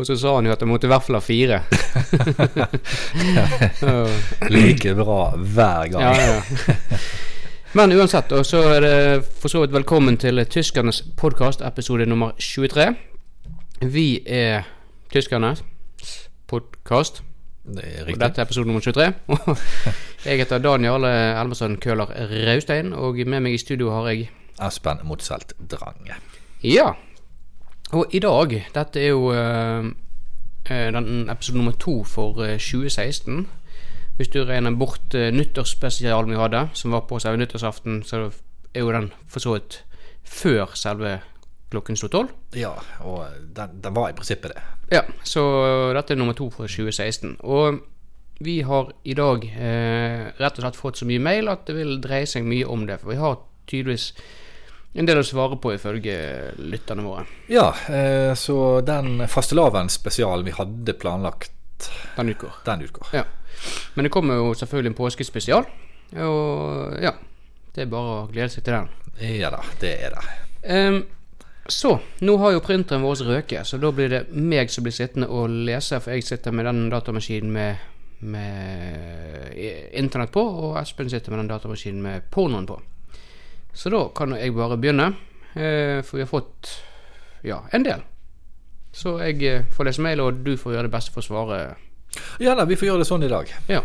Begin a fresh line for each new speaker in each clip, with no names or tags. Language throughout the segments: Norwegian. og så sa han jo at jeg måtte i hvert fall ha fire. Ja.
Like bra hver gang.
ja, ja. Men uansett, og så er det for så vidt velkommen til Tyskernes podkast, episode nummer 23. Vi er Tyskernes podkast,
Det er
og
riktig.
dette er episode nummer 23. Og jeg heter Daniel Elmersen Køhler Raustein, og med meg i studio har jeg
Espen Motselt Drange.
Ja. Og i dag, dette er jo eh, eh, den episode nummer to for eh, 2016. Hvis du regner bort eh, nyttårsspesialen vi hadde, som var på selve nyttårsaften, så er jo den for så vidt før selve klokken slo tolv.
Ja, og den, den var i prinsippet det.
Ja, så dette er nummer to for 2016. Og vi har i dag eh, rett og slett fått så mye mail at det vil dreie seg mye om det. For vi har tydeligvis en del å svare på ifølge lytterne våre.
Ja, eh, så den fastelavnsspesialen vi hadde planlagt,
Den utgår.
den utgår.
Ja. Men det kommer jo selvfølgelig en påskespesial. Og ja, det er bare å glede seg til den.
Ja da, det er det.
Ehm, så, nå har jo printeren vår røket, så da blir det meg som blir sittende og lese, for jeg sitter med den datamaskinen med, med i- internett på, og Espen sitter med den datamaskinen med pornoen på. Så da kan jo jeg bare begynne, eh, for vi har fått ja, en del. Så jeg eh, får lese mail, og du får gjøre det beste for å svare.
Ja da, vi får gjøre det sånn i dag.
Ja.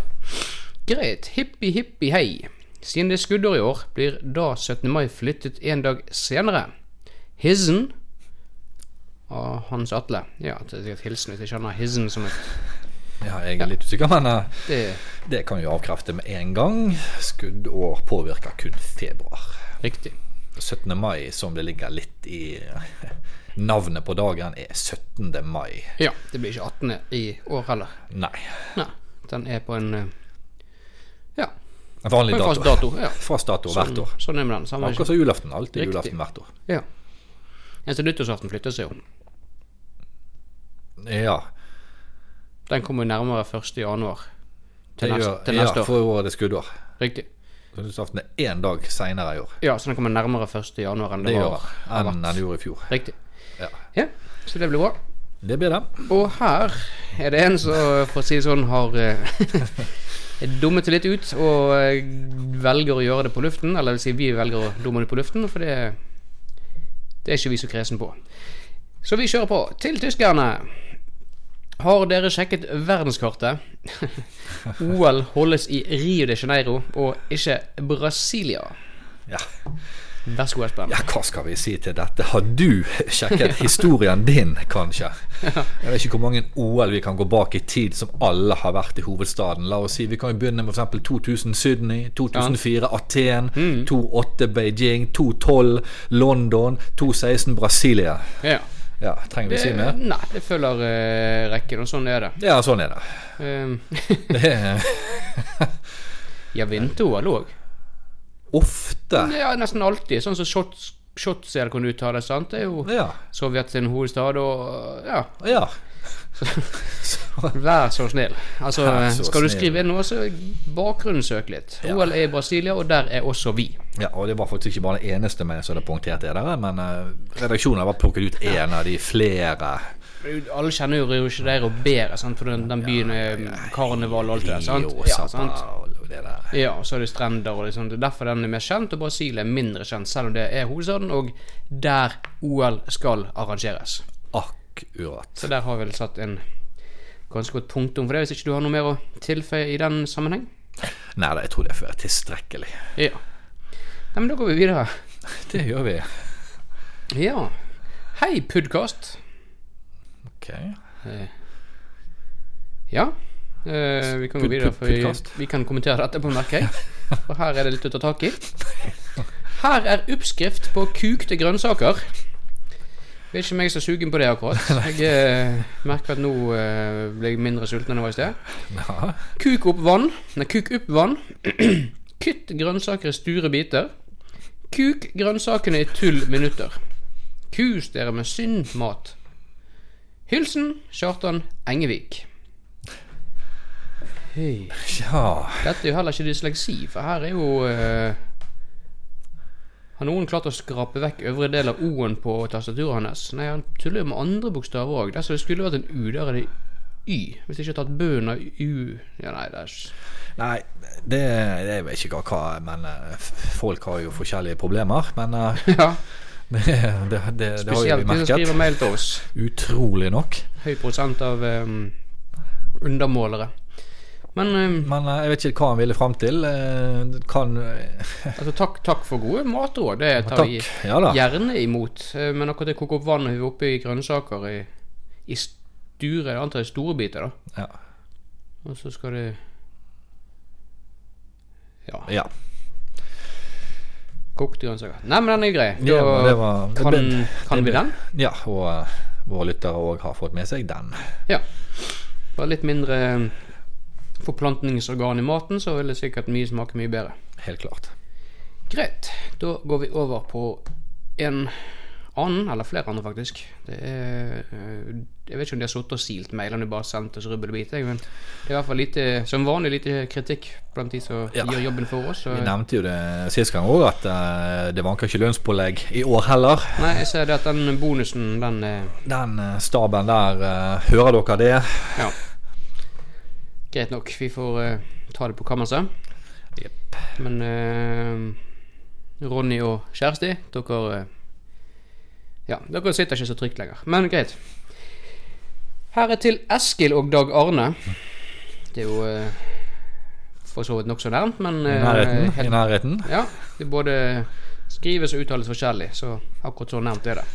Greit. Hippi, hippi, hei. Siden det er skuddår i år, blir da 17. mai flyttet en dag senere. Hissen av Hans Atle. Ja, det er et hilsen hvis jeg skjønner hissen som et
Ja, jeg er litt usikker, men eh,
Det er
det kan vi jo avkrefte med en gang. Skuddår påvirker kun februar.
riktig.
17. mai, som det ligger litt i navnet på dagen, er 17. mai.
Ja, det blir ikke 18. i år heller.
Nei.
Nei, den er på en eh, Ja,
En vanlig
på en fast
dato.
dato. Ja.
Fast dato hvert år.
Sånn er det med den. Samme
Akkurat som julaften. Alltid
Riktig.
julaften hvert år.
Ja. Eneste nyttårsaften flytter seg jo.
Ja.
Den kommer jo nærmere 1. januar til,
det
nest,
gjør-
til neste
ja,
år.
for i år er det skuddår.
Riktig.
Så Nyttårsaften er én dag seinere i år.
Ja, så den kommer nærmere 1. januar enn det,
Det gjør
var.
enn den gjorde i fjor.
Riktig.
Ja.
Ja, så det blir bra.
Det blir det.
Og her er det en som, for å si det sånn, har eh, dummet det litt ut og eh, velger å gjøre det på luften. Eller det vil si, vi velger å dumme det på luften, for det, det er ikke vi så kresen på. Så vi kjører på. Til tyskerne. Har dere sjekket verdenskartet? OL holdes i Rio de Janeiro og ikke Brasilia.
Ja.
Vær så god, Espen.
ja, hva skal vi si til dette? Har du sjekket historien din, kanskje? Jeg vet ikke hvor mange OL vi kan gå bak i tid som alle har vært i hovedstaden. La oss si vi kan jo begynne med f.eks. 2000 Sydney, 2004 Aten,
Mm.
2008 Beijing, 2012 London, 2016 Brasilia.
Ja.
Ja, trenger vi si
Eh,
mer?
Nei, det følger eh, rekken, og sånn er det.
Ja, sånn er det.
Eh,
Det er
ja, vinter-OL òg.
ofte
Ja, nesten alltid. Sånn som shots, shots er det kan uttale, sant? Det er jo
Ja.
Sovjet sin hovedstad, og ja,
ja.
vær så snill. Altså,
Vær så
skal du
snill.
skrive inn noe, så bakgrunnssøk litt.
Ja.
OL er i Brasilia, og der er også vi.
Ja, og det var faktisk ikke bare det eneste med som det punkterte er der, men eh, redaksjonen har bare plukket ut én av de flere.
Alle kjenner jo Rio de Janeiro bedre, sant? for den, den byen er karneval og alt det der. sant?
Rio,
Ja,
Sao
sant?
Paulo, det der.
Ja, og så er det strender og liksom, det er derfor den er mer kjent, og Brasilia er mindre kjent, selv om det er hovedstaden, og der OL skal arrangeres.
Akkurat.
Så der har vi vel satt en ganske godt punktum for det, hvis ikke du har noe mer å tilføye i den sammenheng.
Nei da, jeg tror det får være tilstrekkelig.
Ja. Nei, men da går vi videre.
Det gjør vi.
Ja. Hei, podkast.
Ok.
Ja. Eh, vi kan gå
Pud-
videre,
pud-
for vi,
podcast.
vi kan kommentere dette på merker jeg. For her er det litt å ta tak i. Her er oppskrift på kukte grønnsaker. Vet ikke om jeg er så sugen på det akkurat. Jeg eh, merker at nå eh, ble jeg mindre sulten enn jeg var i sted.
Ja.
Kuk opp vann. Nei, kuk opp vann. Kutt grønnsaker i sture biter. Kuk grønnsakene i tull minutter. Kus dere med synd mat. Hilsen Kjartan Engevik. Hei.
ja.
Dette er jo heller ikke dysleksi, for her er jo eh, Har noen klart å skrape vekk øvre del av O-en på tastaturet hans? Nei, han tuller jo med andre bokstaver òg. Så det skulle vært en U. Der er det Y. Hvis de ikke har tatt bunnen av U Ja, nei, det er
Nei, det, det vet ikke hva Men eh, f- folk har jo forskjellige problemer. Men eh,
Ja,
det, det, det, det har jo
spesielt
vi
de som skriver
merket.
mail til oss.
Utrolig nok.
Høy prosent av um, undermålere. Men um,
Men eh, jeg vet ikke hva han ville fram til. Eh, Kan
altså, takk, takk for gode matråd. Det tar vi
Takk. Ja da.
gjerne imot. Eh, Men akkurat det å koke opp vann og hive oppi grønnsaker i, i sture, jeg antar det er store biter, da.
Ja.
Og så skal det Ja,
Ja,
kokte grønnsaker. Nei, men den er grei. Da
ja men det var det
kan,
ble-
kan vi den?
Ja, og eh, våre lyttere òg har fått med seg den.
Ja. Bare litt mindre eh, forplantningsorgan i maten, så vil det sikkert mye smake mye bedre.
Helt klart.
Greit. Da går vi over på en annen, eller flere andre, faktisk. Det er eh, Jeg vet ikke om de har sittet og silt mailene de bare sendte oss rubbel og bit. jeg, Men det er i hvert fall lite, som vanlig lite kritikk blant de som
Ja.
gjør jobben for oss.
Vi
Og,
nevnte jo det sist gang òg, at eh, det vanker ikke lønnspålegg i år heller.
nei, jeg ser det at den bonusen, den eh,
Den eh, staben der, eh, hører dere det?
Ja. Greit nok. Vi får eh, ta det på kammerset.
Jepp.
Men eh, Ronny og Kjersti, dere eh, Ja, dere sitter ikke så trygt lenger. Men greit. Her er til Eskil og Dag Arne. Det er jo eh, for så vidt nokså nærmt, men
I
eh,
nærheten.
helt-
I nærheten.
ja, det både skrives og uttales forskjellig, så akkurat så nevnt er det.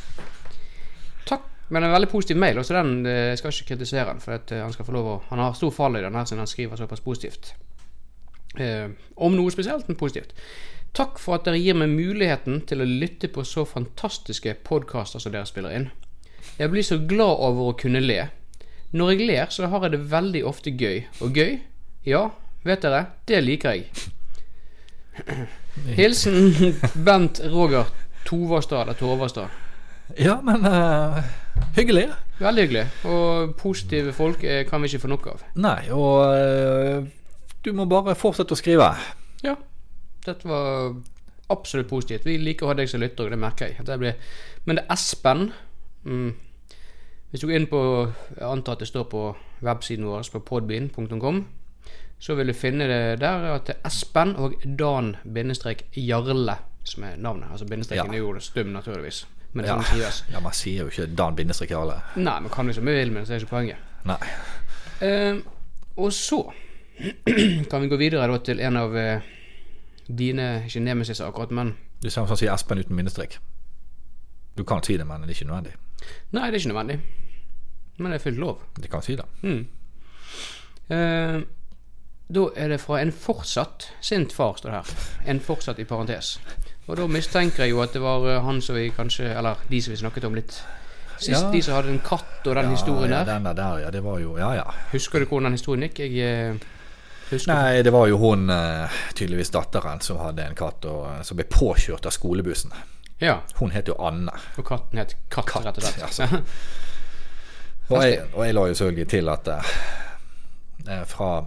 Takk, men en veldig positiv mail, og så den eh, jeg skal ikke kritisere den, for at eh, han skal få lov å Han har stor fall i den her siden han skriver såpass positivt. Eh, om noe spesielt, men positivt. Takk for at dere gir meg muligheten til å lytte på så fantastiske podkaster som dere spiller inn. Jeg blir så glad over å kunne le. Når jeg ler, så har jeg det veldig ofte gøy. Og gøy, ja, vet dere, det liker jeg. Hilsen Bent Roger Tovastad eller Tovastad.
Ja, men eh, hyggelig.
Veldig hyggelig. Og positive folk eh, kan vi ikke få nok av.
Nei, og eh, du må bare fortsette å skrive.
Ja. Dette var absolutt positivt. Vi liker å ha deg som lytter, og det merker jeg. Det blir. Men det er Espen mm. Hvis du går inn på Jeg antar at det står på websiden vår på podbean.com. Så vil du finne det der at det er Espen og Dan-Jarle som er navnet. Altså bindestreken
Ja.
er jo stum, naturligvis. Men det er
Ja.
sånn det skrives.
Ja, man sier jo ikke Dan Bindestrek Jarle.
Nei, men kan vi som vi vil, men det er ikke poenget.
Nei.
Eh, og så kan vi gå videre da til en av eh, dine Ikke nemesiser akkurat, men
Du ser sånn sier Espen uten bindestrek. Du kan si det, men det er ikke nødvendig.
Nei, det er ikke nødvendig. Men det er fullt lov.
De kan si det.
Eh, da er det fra en fortsatt sint far, står det her. En fortsatt i parentes. Og da mistenker jeg jo at det var eh, han som vi kanskje Eller de som vi snakket om litt sist,
Ja.
de som hadde en katt og den historien
Ah, ja,
der.
den der, der, ja, det var jo Ja, ja.
Husker du hvordan den historien gikk? Jeg eh, husker
Nei, det var jo hun, eh, tydeligvis datteren, som hadde en katt og, eh, som ble påkjørt av skolebussen.
Ja.
Hun het jo Anne.
Og katten het Katt,
Katt,
rett og slett.
altså. Og jeg, og jeg la jo selvfølgelig til at eh, eh, fra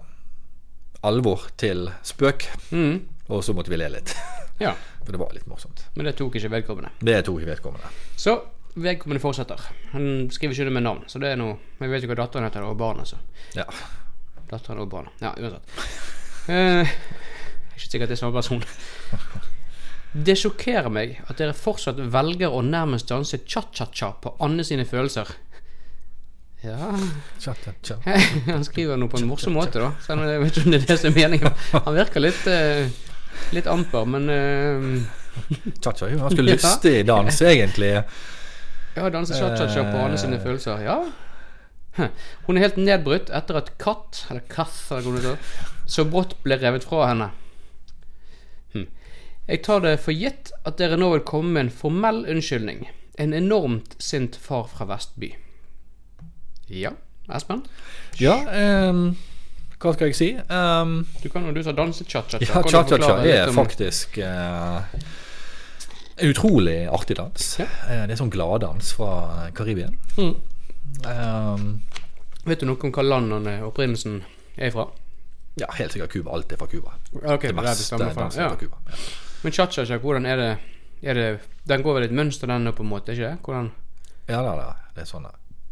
alvor til spøk,
Mm,
og så måtte vi le litt.
ja,
For det var litt morsomt.
men det tok ikke vedkommende.
Det tok vedkommende.
Så vedkommende fortsetter. Han skriver ikke det med navn, så det er noe Men jeg vet jo hva datteren heter, og barnet, så.
Ja.
Datteren og barna. Ja, uansett. Eh, ikke sikkert det er samme person. Det sjokkerer meg at dere fortsatt velger å nærmest danse cha-cha-cha på Anne sine følelser. Ja
Tja, tja, tja.
Han skriver noe på en morsom måte, da. Så jeg vet ikke om det er det som er meningen. Han virker litt eh, Litt amper, men eh,
Tja, tja, er jo en ganske lystig dans, egentlig.
Ja, danse cha-cha-cha på Anne
Eh.
sine følelser. Ja. Hm. Hun er helt nedbrutt etter at Katt, eller Kath, eller hva det heter, så brått ble revet fra henne. Hm. Jeg tar det for gitt at dere nå vil komme med en formell unnskyldning. En enormt sint far fra Vestby. Ja, Espen?
Ja, ehm, hva skal jeg si? Ehm,
Du kan jo du sa danse cha-cha-cha.
ja,
Kan du
cha-cha-cha
forklare litt
er
om-
faktisk eh, en utrolig artig dans.
Ja.
Eh, det er sånn gladdans fra Karibien.
Mm.
Ehm,
Vet du noe om hva land han er opprinnelsen er fra?
ja, helt sikkert Cuba. Alt er fra Cuba.
Ok, det er
Det
det
meste
stemmer fra.
dansen
Ja.
er fra Cuba. Ja.
Men cha-cha-cha, hvordan er det Er det, den går vel i et mønster, den nå, på en måte? ikke det? Hvordan?
Ja, da, da. det er sånn da.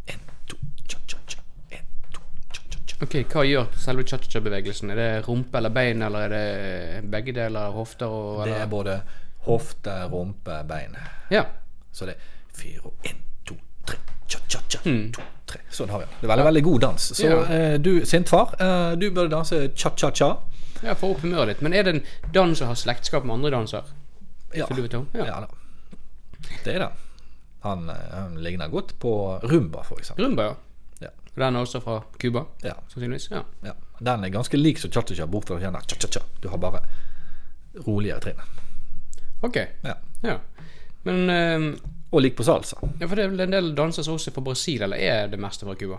En, to, tja, tja, tja. En, to, tja, tja, tja.
Ok, Hva gjør selve cha-cha-bevegelsen? Er det rumpe eller bein, eller er det begge deler? Hofter og
Det
eller?
er både hofte, rumpe, bein.
Ja.
Så det er fire og en, to, tre, tja, tja, tja, to, tre. Sånn har vi den. Det er veldig, veldig god dans. Så
Mm. Ja.
eh, du, sintfar, eh, du bør danse cha-cha-cha.
ja, for opp humøret litt. Men er det en dans som har slektskap med andre danser?
Ja.
Som du vet om?
ja.
Ja.
da. Det er det. Han, eh, han ligner godt på rumba, for eksempel.
Rumba, ja.
Ja.
Og Den er også fra Cuba,
Ja,
sannsynligvis? Ja.
ja. Den er ganske lik som cha-cha-cha, bort fra kjenner cha-cha-cha. Du har bare roligere trinn.
Ok.
Ja.
Ja. Men eh,
Og lik på salsa.
ja, for det er vel en del danser som også er fra Brasil, eller er det meste fra Cuba?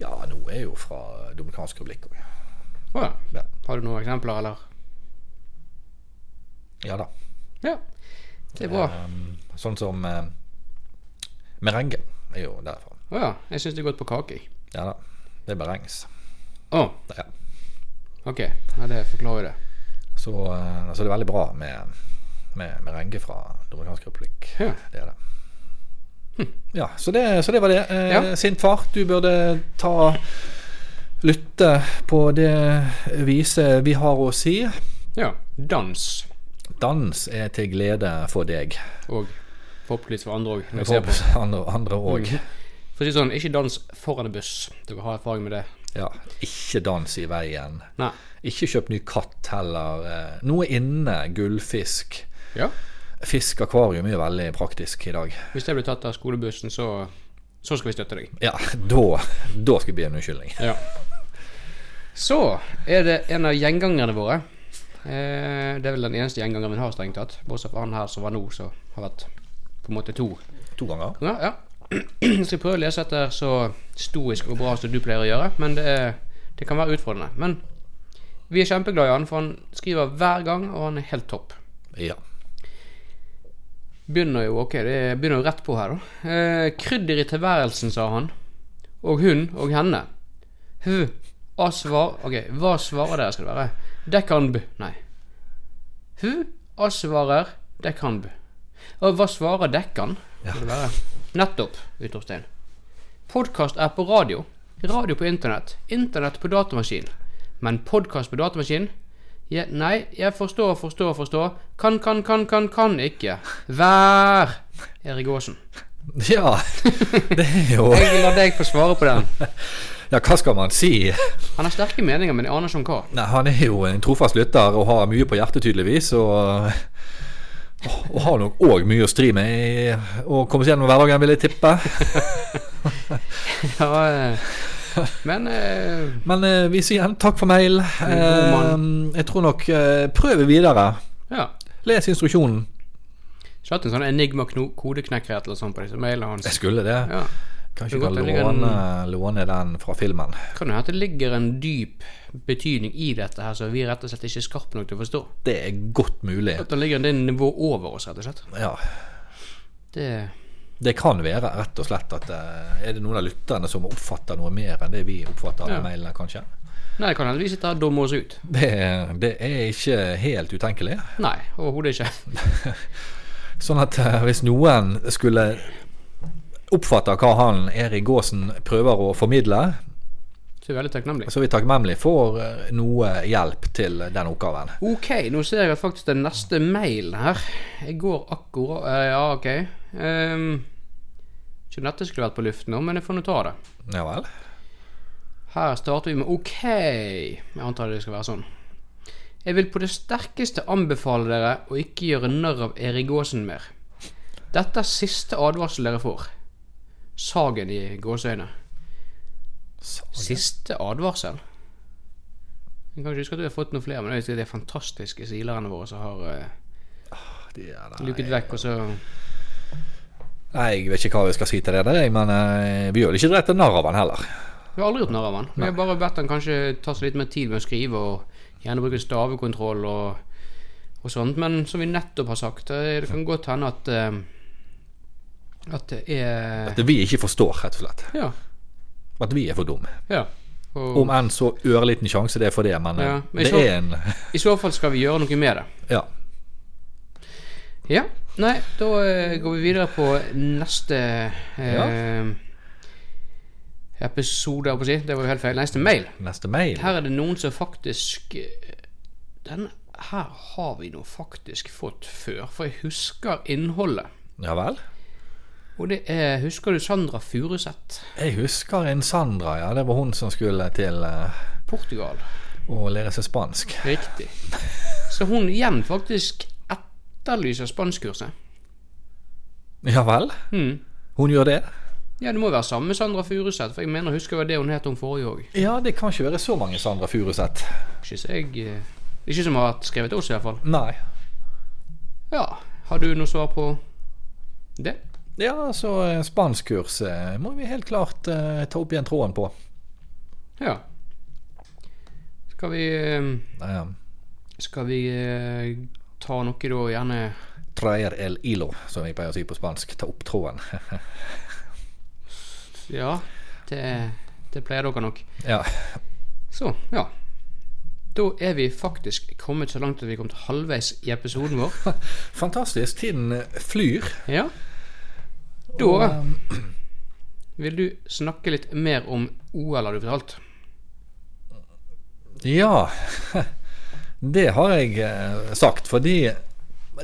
Ja, noe er jo fra Dominikansk republikk òg.
Å ja.
Ja.
Har du noen eksempler, eller?
Ja da.
Ja. Det er bra.
Um, sånn som eh, merengue er jo derfra.
Å ja. Jeg syns det er godt på kake. jeg.
Ja da. Det er merengs.
Å,
Ja.
ok. Ja, det forklarer jo det.
Så, eh, så det er veldig bra med, med merengue fra Dominikansk republikk.
Ja.
Det er det. Ja, så det, så det var det. Eh,
Ja.
Sint far, du burde ta Lytte på det viset vi har å si.
Ja. Dans.
Dans er til glede for deg.
Og forhåpentligvis for andre òg. For
For andre- andre òg.
å si det sånn, ikke dans foran en buss. Dere har erfaring med det.
Ja, ikke dans i veien.
Nei.
Ikke kjøp ny katt heller. Eh, Noe inne. Gullfisk.
Ja.
Fiskakvarium er jo veldig praktisk i dag.
Hvis jeg blir tatt av skolebussen, så, så skal vi støtte deg.
Ja, da, da skal det bli en unnskyldning.
Ja. Så er det en av gjengangerne våre. Eh, det er vel den eneste gjengangeren vi har, strengt tatt. Bortsett fra han her som var nå, som har vært på en måte to.
To ganger.
Ja, ja. Jeg skal prøve å lese etter så stoisk og bra som du pleier å gjøre, men det, er, det kan være utfordrende. Men vi er kjempeglad i han, for han skriver hver gang, og han er helt topp.
Ja.
Begynner jo ok, det begynner jo rett på her, da. Eh, krydder i tilværelsen, sa han. Og hun og henne. Hø, hva svar... Ok, hva svarer dere skal det være? Dekkanb. Nei. Hø, hva svarer dekkanb? Og hva svarer dekkan? Skal det være. Nettopp, utropstegn. Podkast er på radio. Radio på internett. Internett på datamaskin. Men podkast på datamaskin? Je, nei, jeg forstår, forstår, forstår. Kan, kan, kan, kan, kan ikke. Vær Erik Aasen.
Ja, det er jo
Jeg lar deg få svare på den.
Ja, hva skal man si?
Han har sterke meninger, men jeg aner ikke om hva.
Nei, han er jo en trofast lytter og har mye på hjertet, tydeligvis. Og, og har nok òg mye å stri med i- og komme seg gjennom hverdagen, vil jeg tippe.
Ja, eh, men eh,
Men eh, vi sier igjen takk for mail.
god
Eh, jeg tror nok eh, Prøv videre.
ja.
Les instruksjonen.
Skulle hatt en sånn enigma-kodeknekker eller sånt på disse mailene
Jeg
hans.
skulle det.
Ja. Det er
Kanskje vi kan
godt det ligger en-
låne, låne den fra filmen.
Kan jo hende at det ligger en dyp betydning i dette her, så vi er rett og slett ikke er skarpe nok til å forstå.
Det er godt mulig.
At det ligger en del nivå over oss, rett og slett.
Ja.
Det
Det kan være rett og slett at eh, er det noen av lytterne som oppfatter noe mer enn det vi oppfatter av
Ja.
mailene, kanskje?
Nei, det kan hende vi sitter her og dummer oss ut.
Det, det er ikke helt utenkelig.
Nei, overhodet ikke.
Sånn at eh, hvis noen skulle oppfatte hva han Erik Gåsen prøver å formidle,
Så vi er veldig takknemlige.
så er vi takknemlige for eh, noe hjelp til den oppgaven.
Ok, nå ser jeg at faktisk den neste mailen her Jeg går akkurat eh, Ja, ok. Ehm, ikke om dette skulle vært på luften nå, men jeg får nå ta det.
Ja vel?
Her starter vi med ok. Jeg antar det skal være sånn. Jeg vil på det sterkeste anbefale dere å ikke gjøre narr av Erik Aasen mer. Dette er siste advarsel dere får. Sagen i gåseøyne.
Så,
Siste advarsel? Jeg kan ikke huske at vi har fått noen flere, men jeg husker at det er fantastiske silerne våre som har eh,
det er det.
luket vekk, og så
Nei, jeg vet ikke hva vi skal si til det der, jeg, men eh, vi gjør det ikke direkte narr av han heller.
Vi har aldri gjort narr av han. Vi har bare bedt han kanskje ta seg litt mer tid med å skrive, og gjerne bruke stavekontroll og, og sånt. Men som vi nettopp har sagt, eh, det kan godt hende at eh, At det er
At vi ikke forstår, rett og slett.
Ja.
At vi er for dumme.
ja. Og,
Om enn så ørliten sjanse det er for det, men eh,
Ja, men
det
så-
er en
I så fall skal vi gjøre noe med det.
Ja.
Ja. Nei, da eh, går vi videre på neste eh, episode, holdt på å si. Det var jo helt feil. Neste mail.
Neste mail.
Her er det noen som faktisk eh, Den her har vi nå faktisk fått før, for jeg husker innholdet.
Ja vel.
Og det er Husker du Sandra Furuseth?
Jeg husker en Sandra, ja. Det var hun som skulle til eh,
Portugal.
å lære seg spansk.
Riktig. Så hun igjen faktisk etterlyser spanskkurset.
Ja vel?
Hmm.
Hun gjør det?
Ja, det må være samme Sandra Furuseth, for jeg mener husker jeg det hun het hun forrige òg.
Ja, det kan ikke være så mange Sandra Furuseth.
Ikke så jeg eh, Ikke som har vært skrevet til oss, i hvert fall.
Nei.
Ja. Har du noe svar på det?
Ja, så eh, spanskkurs eh, må vi helt klart eh, ta opp igjen tråden på.
Ja. Skal vi eh,
Eh,
Skal vi eh, ta noe da, gjerne
Traer el hilo, som vi pleier å si på spansk. Ta opp tråden.
Ja, det, det pleier dere nok.
ja.
Så, ja. Da er vi faktisk kommet så langt at vi er kommet halvveis i episoden vår.
Fantastisk. Tiden eh, flyr.
Ja.
Og,
Da
eh,
vil du snakke litt mer om OL, har du fortalt.
Ja, det har jeg eh, sagt, fordi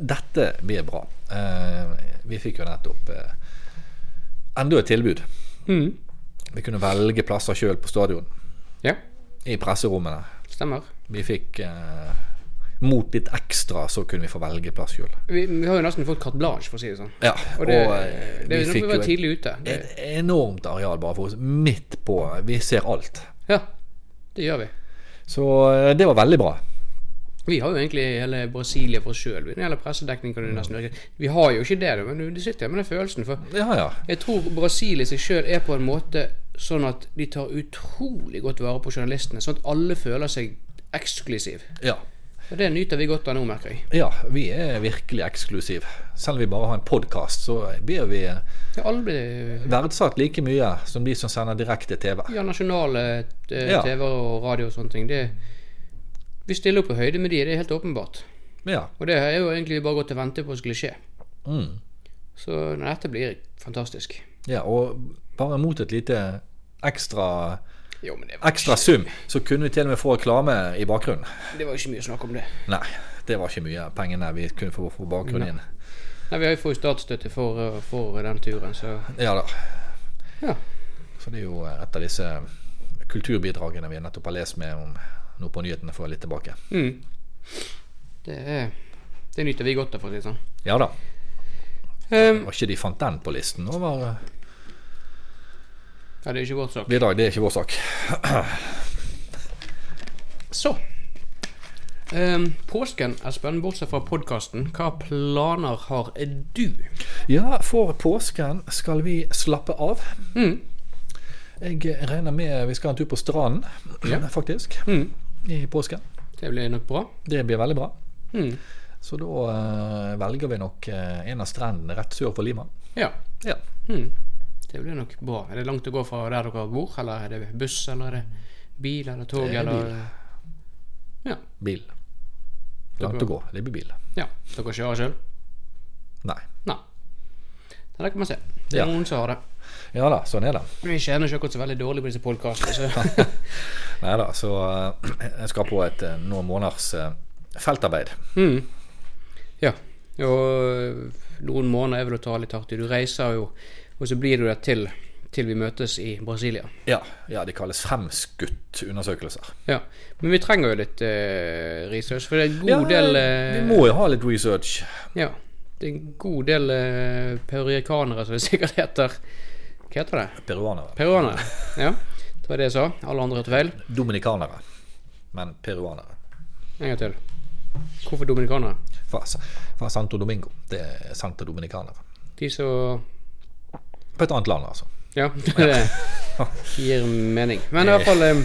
dette blir bra. Eh, Vi fikk jo nettopp eh, enda et tilbud.
Mm.
Vi kunne velge plasser sjøl på stadion,
Ja,
i presserommene.
stemmer.
Vi fikk eh, mot litt ekstra, så kunne vi få velge plass sjøl.
Vi, vi har jo nesten fått carte blanche, for å si det sånn.
Ja,
Og det,
eh,
det, er jo
vi
nok
fikk
vi
jo
var
et,
tidlig ute. Det,
et enormt areal bare for oss, midt på. Vi ser alt.
ja, det gjør vi.
Så eh, det var veldig bra.
Vi har jo egentlig hele Brasilia for oss sjøl. Når det gjelder pressedekning, kan du nesten virke Vi har jo ikke det, da, men du sitter med den følelsen. for
Ja, ja.
Jeg tror Brasil i seg sjøl er på en måte sånn at de tar utrolig godt vare på journalistene, sånn at alle føler seg eksklusiv.
ja.
Og det nyter vi godt av nå, merker jeg.
Ja, vi er virkelig eksklusiv. Selv om vi bare har en podkast, så blir vi
Det er alle
verdsatt like mye som de som sender direkte TV.
ja, nasjonale eh,
Ja.
TV og radio og sånne ting. Det, vi stiller opp på høyde med de, det er helt åpenbart.
Ja.
Og det er jo egentlig bare godt å vente på skulle skje.
Mm.
Så nei, dette blir fantastisk.
ja og bare mot et lite ekstra,
Jo, men det var,
ekstra sum, så kunne vi til og med få reklame i bakgrunnen.
det var jo ikke mye snakk om det.
Nei, det var ikke mye pengene vi kunne få på bakgrunnen inn.
Nei, Vi har jo fått statsstøtte for, eh, for den turen, så
Ja da.
ja.
Så det er jo et av disse kulturbidragene vi nettopp har lest med om nå på nyhetene for litt tilbake.
Mm. Det, er, det nyter vi godt av, for å si det sånn.
Ja da.
Ehm,
Var ikke de fant den på listen over
ja, det er ikke vår sak.
bidrag? Det er ikke vår sak.
Så ehm, Påsken, Espen, bortsett fra podkasten, hva planer har du?
Ja, for påsken skal vi slappe av.
Mm.
Jeg regner med vi skal en tur på stranden,
Ja.
faktisk,
Mm.
i påsken.
Det blir nok bra.
Det blir veldig bra.
Mm.
Så da eh, velger vi nok eh, en av strendene rett sør for Lima.
Ja.
Ja.
Mm. Det blir nok bra. Er det langt å gå fra der dere bor, eller er det buss, eller er det bil, eller tog,
Det er
eller
bil.
Ja.
Bil. Langt å gå. Det blir bil.
ja. Dere kjører sjøl?
Nei.
Nei. Nei, Det kan man se. Det er
Ja.
noen som har det.
Ja da, sånn er det.
Vi tjener ikke akkurat så veldig dårlig på disse podkastene, så
Nei da, så eh, jeg skal på et eh, noen måneders eh, feltarbeid.
Mm. Ja. Og eh, noen måneder er vel å ta litt hardt i. Du reiser jo, og så blir du der til, til vi møtes i Brasilia.
Ja, ja, det kalles fremskutt undersøkelser.
Ja. Men vi trenger jo litt eh, research, for det er en god
Ja,
del
vi
eh,
må jo ha litt research.
Ja. Det er en god del uh, peruanere, som det sikkert heter. Hva heter det?
Peruanere.
Peruanere. Ja. Det var det jeg sa. Alle andre hørte feil.
Dominikanere. Men peruanere.
En gang til. Hvorfor dominikanere?
fra, fra Santo Domingo. Det er Santa Dominicanere.
De som
På et annet land, altså.
Ja, det gir mening. Men i hvert fall eh,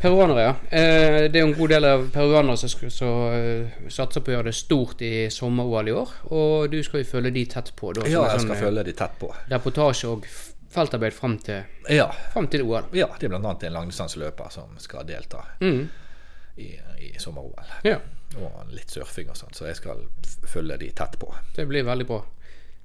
peruanere, ja. Eh, Det er jo en god del av peruanere som, sk- som eh, satser på å gjøre det stort i sommer-OL i år. Og du skal jo følge de tett på, da. som
Ja,
en
jeg
sånn,
skal
eh,
følge de tett på.
Reportasje og f- feltarbeid fram til,
Ja,
frem til OL.
ja det er bl.a. en langdistanseløper som skal delta
Mm,
i, i sommer-OL.
ja.
og litt surfing og sånn, så jeg skal f- følge de tett på.
Det blir veldig bra.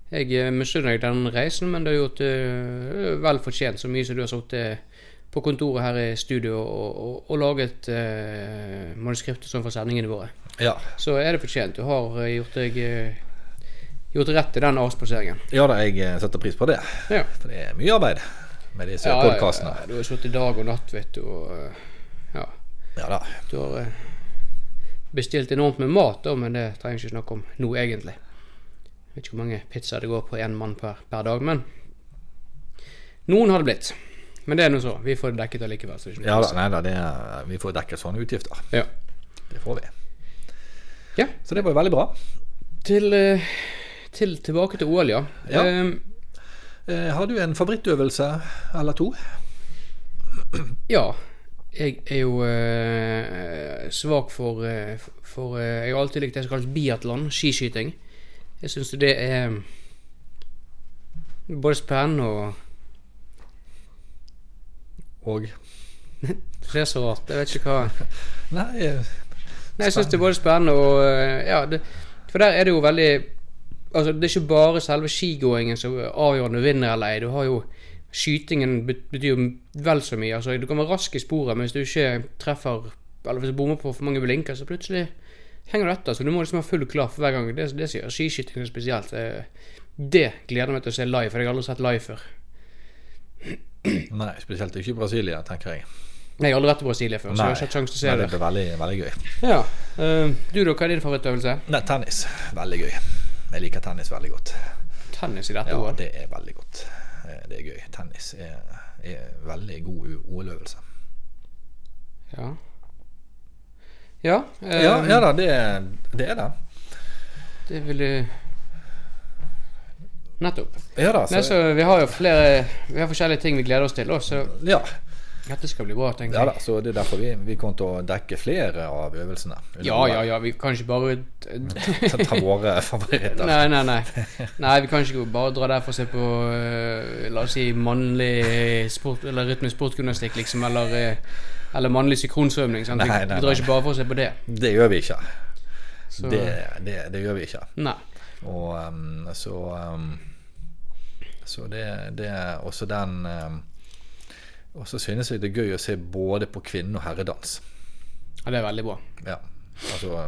Jeg eh, misunner deg den reisen, men det er gjort eh, vel fortjent så mye som du har sittet eh, på kontoret her i studio og, og, og laget eh, manuskriptet sånn for sendingene våre.
Ja,
Så er det fortjent. Du har eh, gjort deg eh, gjort rett i den avspaseringen.
ja da, jeg eh, setter pris på det.
Ja.
For det er mye arbeid med disse
Ja,
podkastene.
ja, Du har sittet dag og natt, vet du, og eh, ja.
Ja da.
Du har eh, bestilt enormt med mat, da, men det trenger vi ikke snakke om nå, egentlig. Jeg vet ikke hvor mange pizzaer det går på én mann per, per dag, men noen har det blitt. Men det er nå så. Vi får det dekket allikevel. Så det er ikke noe
Ja da,
stress.
nei da, det er, Vi får dekket sånne utgifter.
Ja.
Det får vi.
Ja.
Så det var jo veldig bra.
Til, eh, til, tilbake til OL, ja.
Ja.
Ehm,
Eh, har du en favorittøvelse eller to?
Ja. Jeg er jo eh, svak for, eh, for eh, Jeg har alltid likt det som kalles biatlon, skiskyting. Jeg syns det er både spennende og
Og
Det er så rart. Jeg vet ikke hva
Nei, eh,
Nei, jeg syns det er både spennende og eh, Ja, det, for der er det jo veldig Altså, det er ikke bare selve skigåingen som avgjør om du vinner eller ei. Du har jo Skytingen bet- betyr jo vel så mye. Altså, du kan være rask i sporet, men hvis du ikke treffer Eller hvis du bommer på for mange blinker, så plutselig henger du etter. Så du må liksom ha full klaff hver gang. Det, det som gjør skiskyting så spesielt. Det, det gleder jeg meg til å se live, for jeg har aldri sett live før.
nei, spesielt ikke i Brasilia, tenker jeg.
Nei, jeg har aldri vært i Brasilia før, så jeg har ikke hatt sjanse til å se
nei, det
det.
blir veldig, veldig gøy.
Ja. eh, du, da, hva er din favorittøvelse?
Nei, tennis. Veldig gøy. Jeg liker tennis veldig godt.
Tennis i dette
Ja,
OL?
det er veldig godt. Eh, Det er gøy. Tennis er, er veldig god u- OL-øvelse.
Ja. Ja, eh,
Ja, ja da, det, det er det.
det ville Nettopp.
Ja da,
Nei,
så,
så vi har jo flere Vi har forskjellige ting vi gleder oss til, også, så
ja,
dette skal bli bra, tenker
ja
jeg.
da, så det er derfor vi, vi kommer til å dekke flere av øvelsene.
Ja, ja, ja, vi kan ikke bare
Ta ta våre favoritter.
Nei, nei, nei. Nei, Vi kan ikke bare dra der for å se på eh, La oss si mannlig sport Eller rytmisk sportgymnastikk, liksom, eller eh, Eller mannlig synkronsvømming. sant? Vi,
Nei, nei,
vi drar
nei.
ikke bare for å se på det.
Det gjør vi ikke.
Så,
Det, det, det gjør vi ikke.
Nei.
Og um, så um, Så det, det er også den um, Og så synes jeg det er gøy å se både på kvinne- og herredans.
Ja, det er veldig bra.
Ja. Altså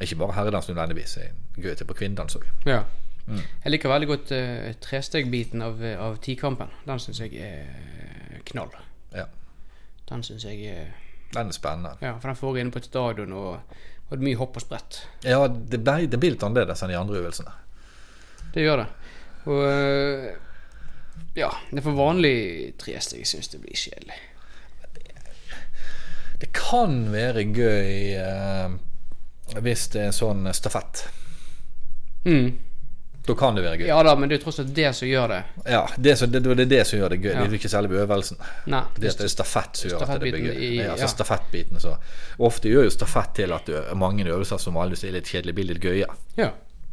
Ikke bare herredans nødvendigvis. Det er gøy å se på kvinnedans òg.
Ja.
Mm.
Jeg liker veldig godt uh, trestegbiten av, eh, av tikampen. Den syns jeg er knall.
Ja.
Den synes jeg er
Den er spennende.
Ja, for den foregår inne på et stadion, og, og det er mye hopp og sprett.
Ja, det, ble, det blir litt annerledes enn de andre øvelsene.
Det gjør det. Og eh, Ja. Det er for vanlig tresteg jeg syns det blir kjedelig.
Det kan være gøy eh, hvis det er sånn stafett.
Mm.
Da kan det være gøy. Ja,
Ja da, men det er tross alt det som gjør det.
det, er så, det, det er det som gjør det gøy. Det er jo ikke selve øvelsen.
Nei.
Det at det er stafett som gjør at det blir gøy.
Stafettbiten i-
ja,
ja.
altså stafettbiten så. og Ofte gjør jo stafett til at ø- mange øvelser som alle sier er litt kjedelige, blir litt gøye.
Ja.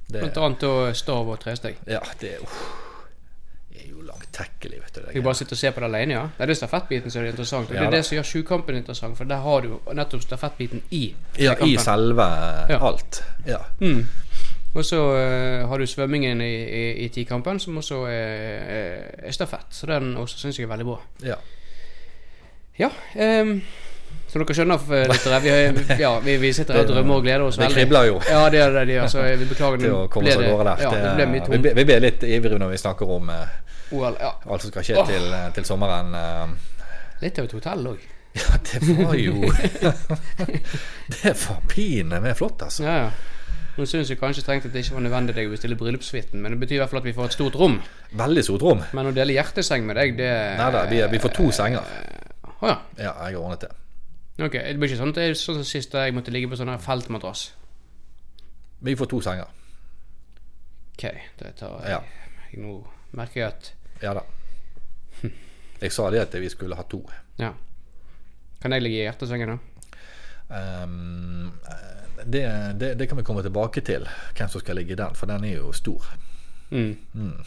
Det-
Blant annet da stav og tresteg.
Ja, det er, uff, det er jo langtekkelig, vet du. Det
Jeg bare sitter og ser på det alene, ja. Nei, det er stafettbiten som er det interessant. Og det
Ja
er
da.
det som gjør sjukampen interessant, for der har du jo nettopp stafettbiten i.
ja, I
trekampen.
selve
Ja.
alt. Ja.
Mm. Og så eh, har du svømmingen i, i, i tikampen, som også er, er stafett. Så den også syns jeg er veldig bra.
ja.
Ja. ehm, som dere skjønner, f- lyttere, vi, har- ja, vi, vi sitter her og drømmer og gleder oss
Det kribler jo
Ja, det er det de gjør, så vi beklager.
til å
nå
komme
ble
seg av gårde der.
Ja, det ble
Det-
mye
vi,
tomt
ble- vi ble litt ivrige når vi snakker om eh,
OL. Ja.
alt som skal skje
Åh.
til, eh, til sommeren. eh.
Litt av et hotell òg.
Ja, det var jo Det var pinlig flott, altså.
Ja, ja. Nå syns jeg kanskje strengt at det ikke var nødvendig deg å bestille bryllupssuiten, men det betyr i hvert fall at vi får et stort rom.
Veldig stort rom.
Men å dele hjerteseng med deg, det
Nei da, vi, vi får to senger.
Å ja.
Ja, jeg har ordnet det.
Ok, Det blir ikke sånn at det er sånn som sist da jeg måtte ligge på sånn her feltmadrass.
Vi får to senger.
Ok, det tar jeg.
Ja,
jeg Nå merker jeg at
ja da. Jeg sa det at vi skulle ha to.
Ja. Kan jeg ligge i hjertesengen, da?
Ehm, eh, det, det, det kan vi komme tilbake til, hvem som skal ligge i den, for den er jo stor.
Mm. Hm.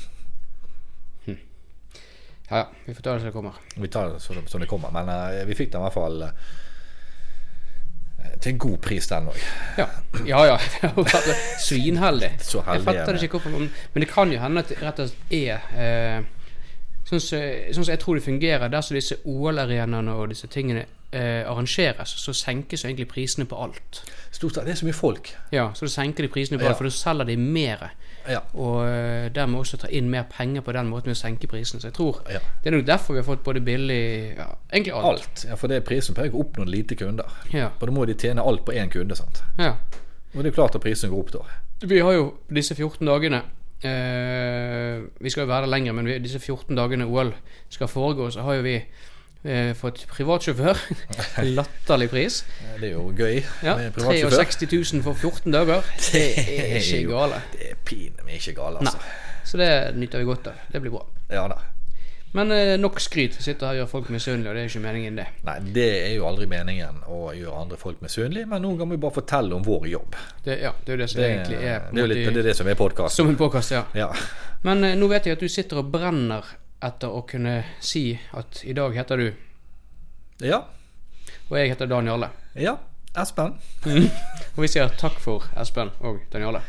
Ja ja, vi får ta det som det kommer.
Vi tar det som, som det kommer, men eh, vi fikk den i hvert fall eh, til en god pris, den òg.
Ja, ja. ja. Jeg har vært Svinheldig.
Så heldig
Jeg fatter
er vi.
det ikke hvorfor man, Men det kan jo hende at det rett og slett er eh, Sånn som sånn som jeg tror det fungerer, dersom disse OL-arenaene og disse tingene eh, arrangeres, så senkes jo egentlig prisene på alt.
Stort sett det er så mye folk.
Ja, Så da senker de prisene på
Ja.
alt, for da selger de mer.
Ja.
Og eh, dermed også ta inn mer penger på den måten ved å senke prisene. Så jeg tror
Ja.
det er nok derfor vi har fått både billig ja, Egentlig alt.
Alt. Ja, for det er prisen pleier å oppnå lite kunder.
Ja,
Og da må de tjene alt på én kunde, sant.
ja.
Og det er klart at prisen går opp da.
Vi har jo disse 14 dagene eh, Vi skal jo være der lenger, men vi, disse 14 dagene OL skal foregå, så har jo vi eh, fått privatsjåfør. til Latterlig pris.
Eh, Det er jo gøy
Ja,
med privatsjåfør.
63 000 for 14 dager. Det er
Det er
ikke
jo-
gale.
Det er pinlig ikke galt, altså.
Så det nyter vi godt av. Det blir bra.
Ja da.
Men eh, nok skryt. Vi sitter her og gjør folk misunnelige, og det er jo ikke meningen, det.
Nei, det er jo aldri meningen å gjøre andre folk misunnelige, men noen ganger må vi bare fortelle om vår jobb.
det ja, det er jo det som
Det,
egentlig er på
det er jo
en
litt
måte,
det, er det som er podkasten.
Som en påkast, ja.
Ja.
Men eh, nå vet jeg at du sitter og brenner etter å kunne si at i dag heter du
ja.
Og jeg heter Dan Jarle.
Ja. Espen.
Og vi sier takk for Espen og Dan Jarle.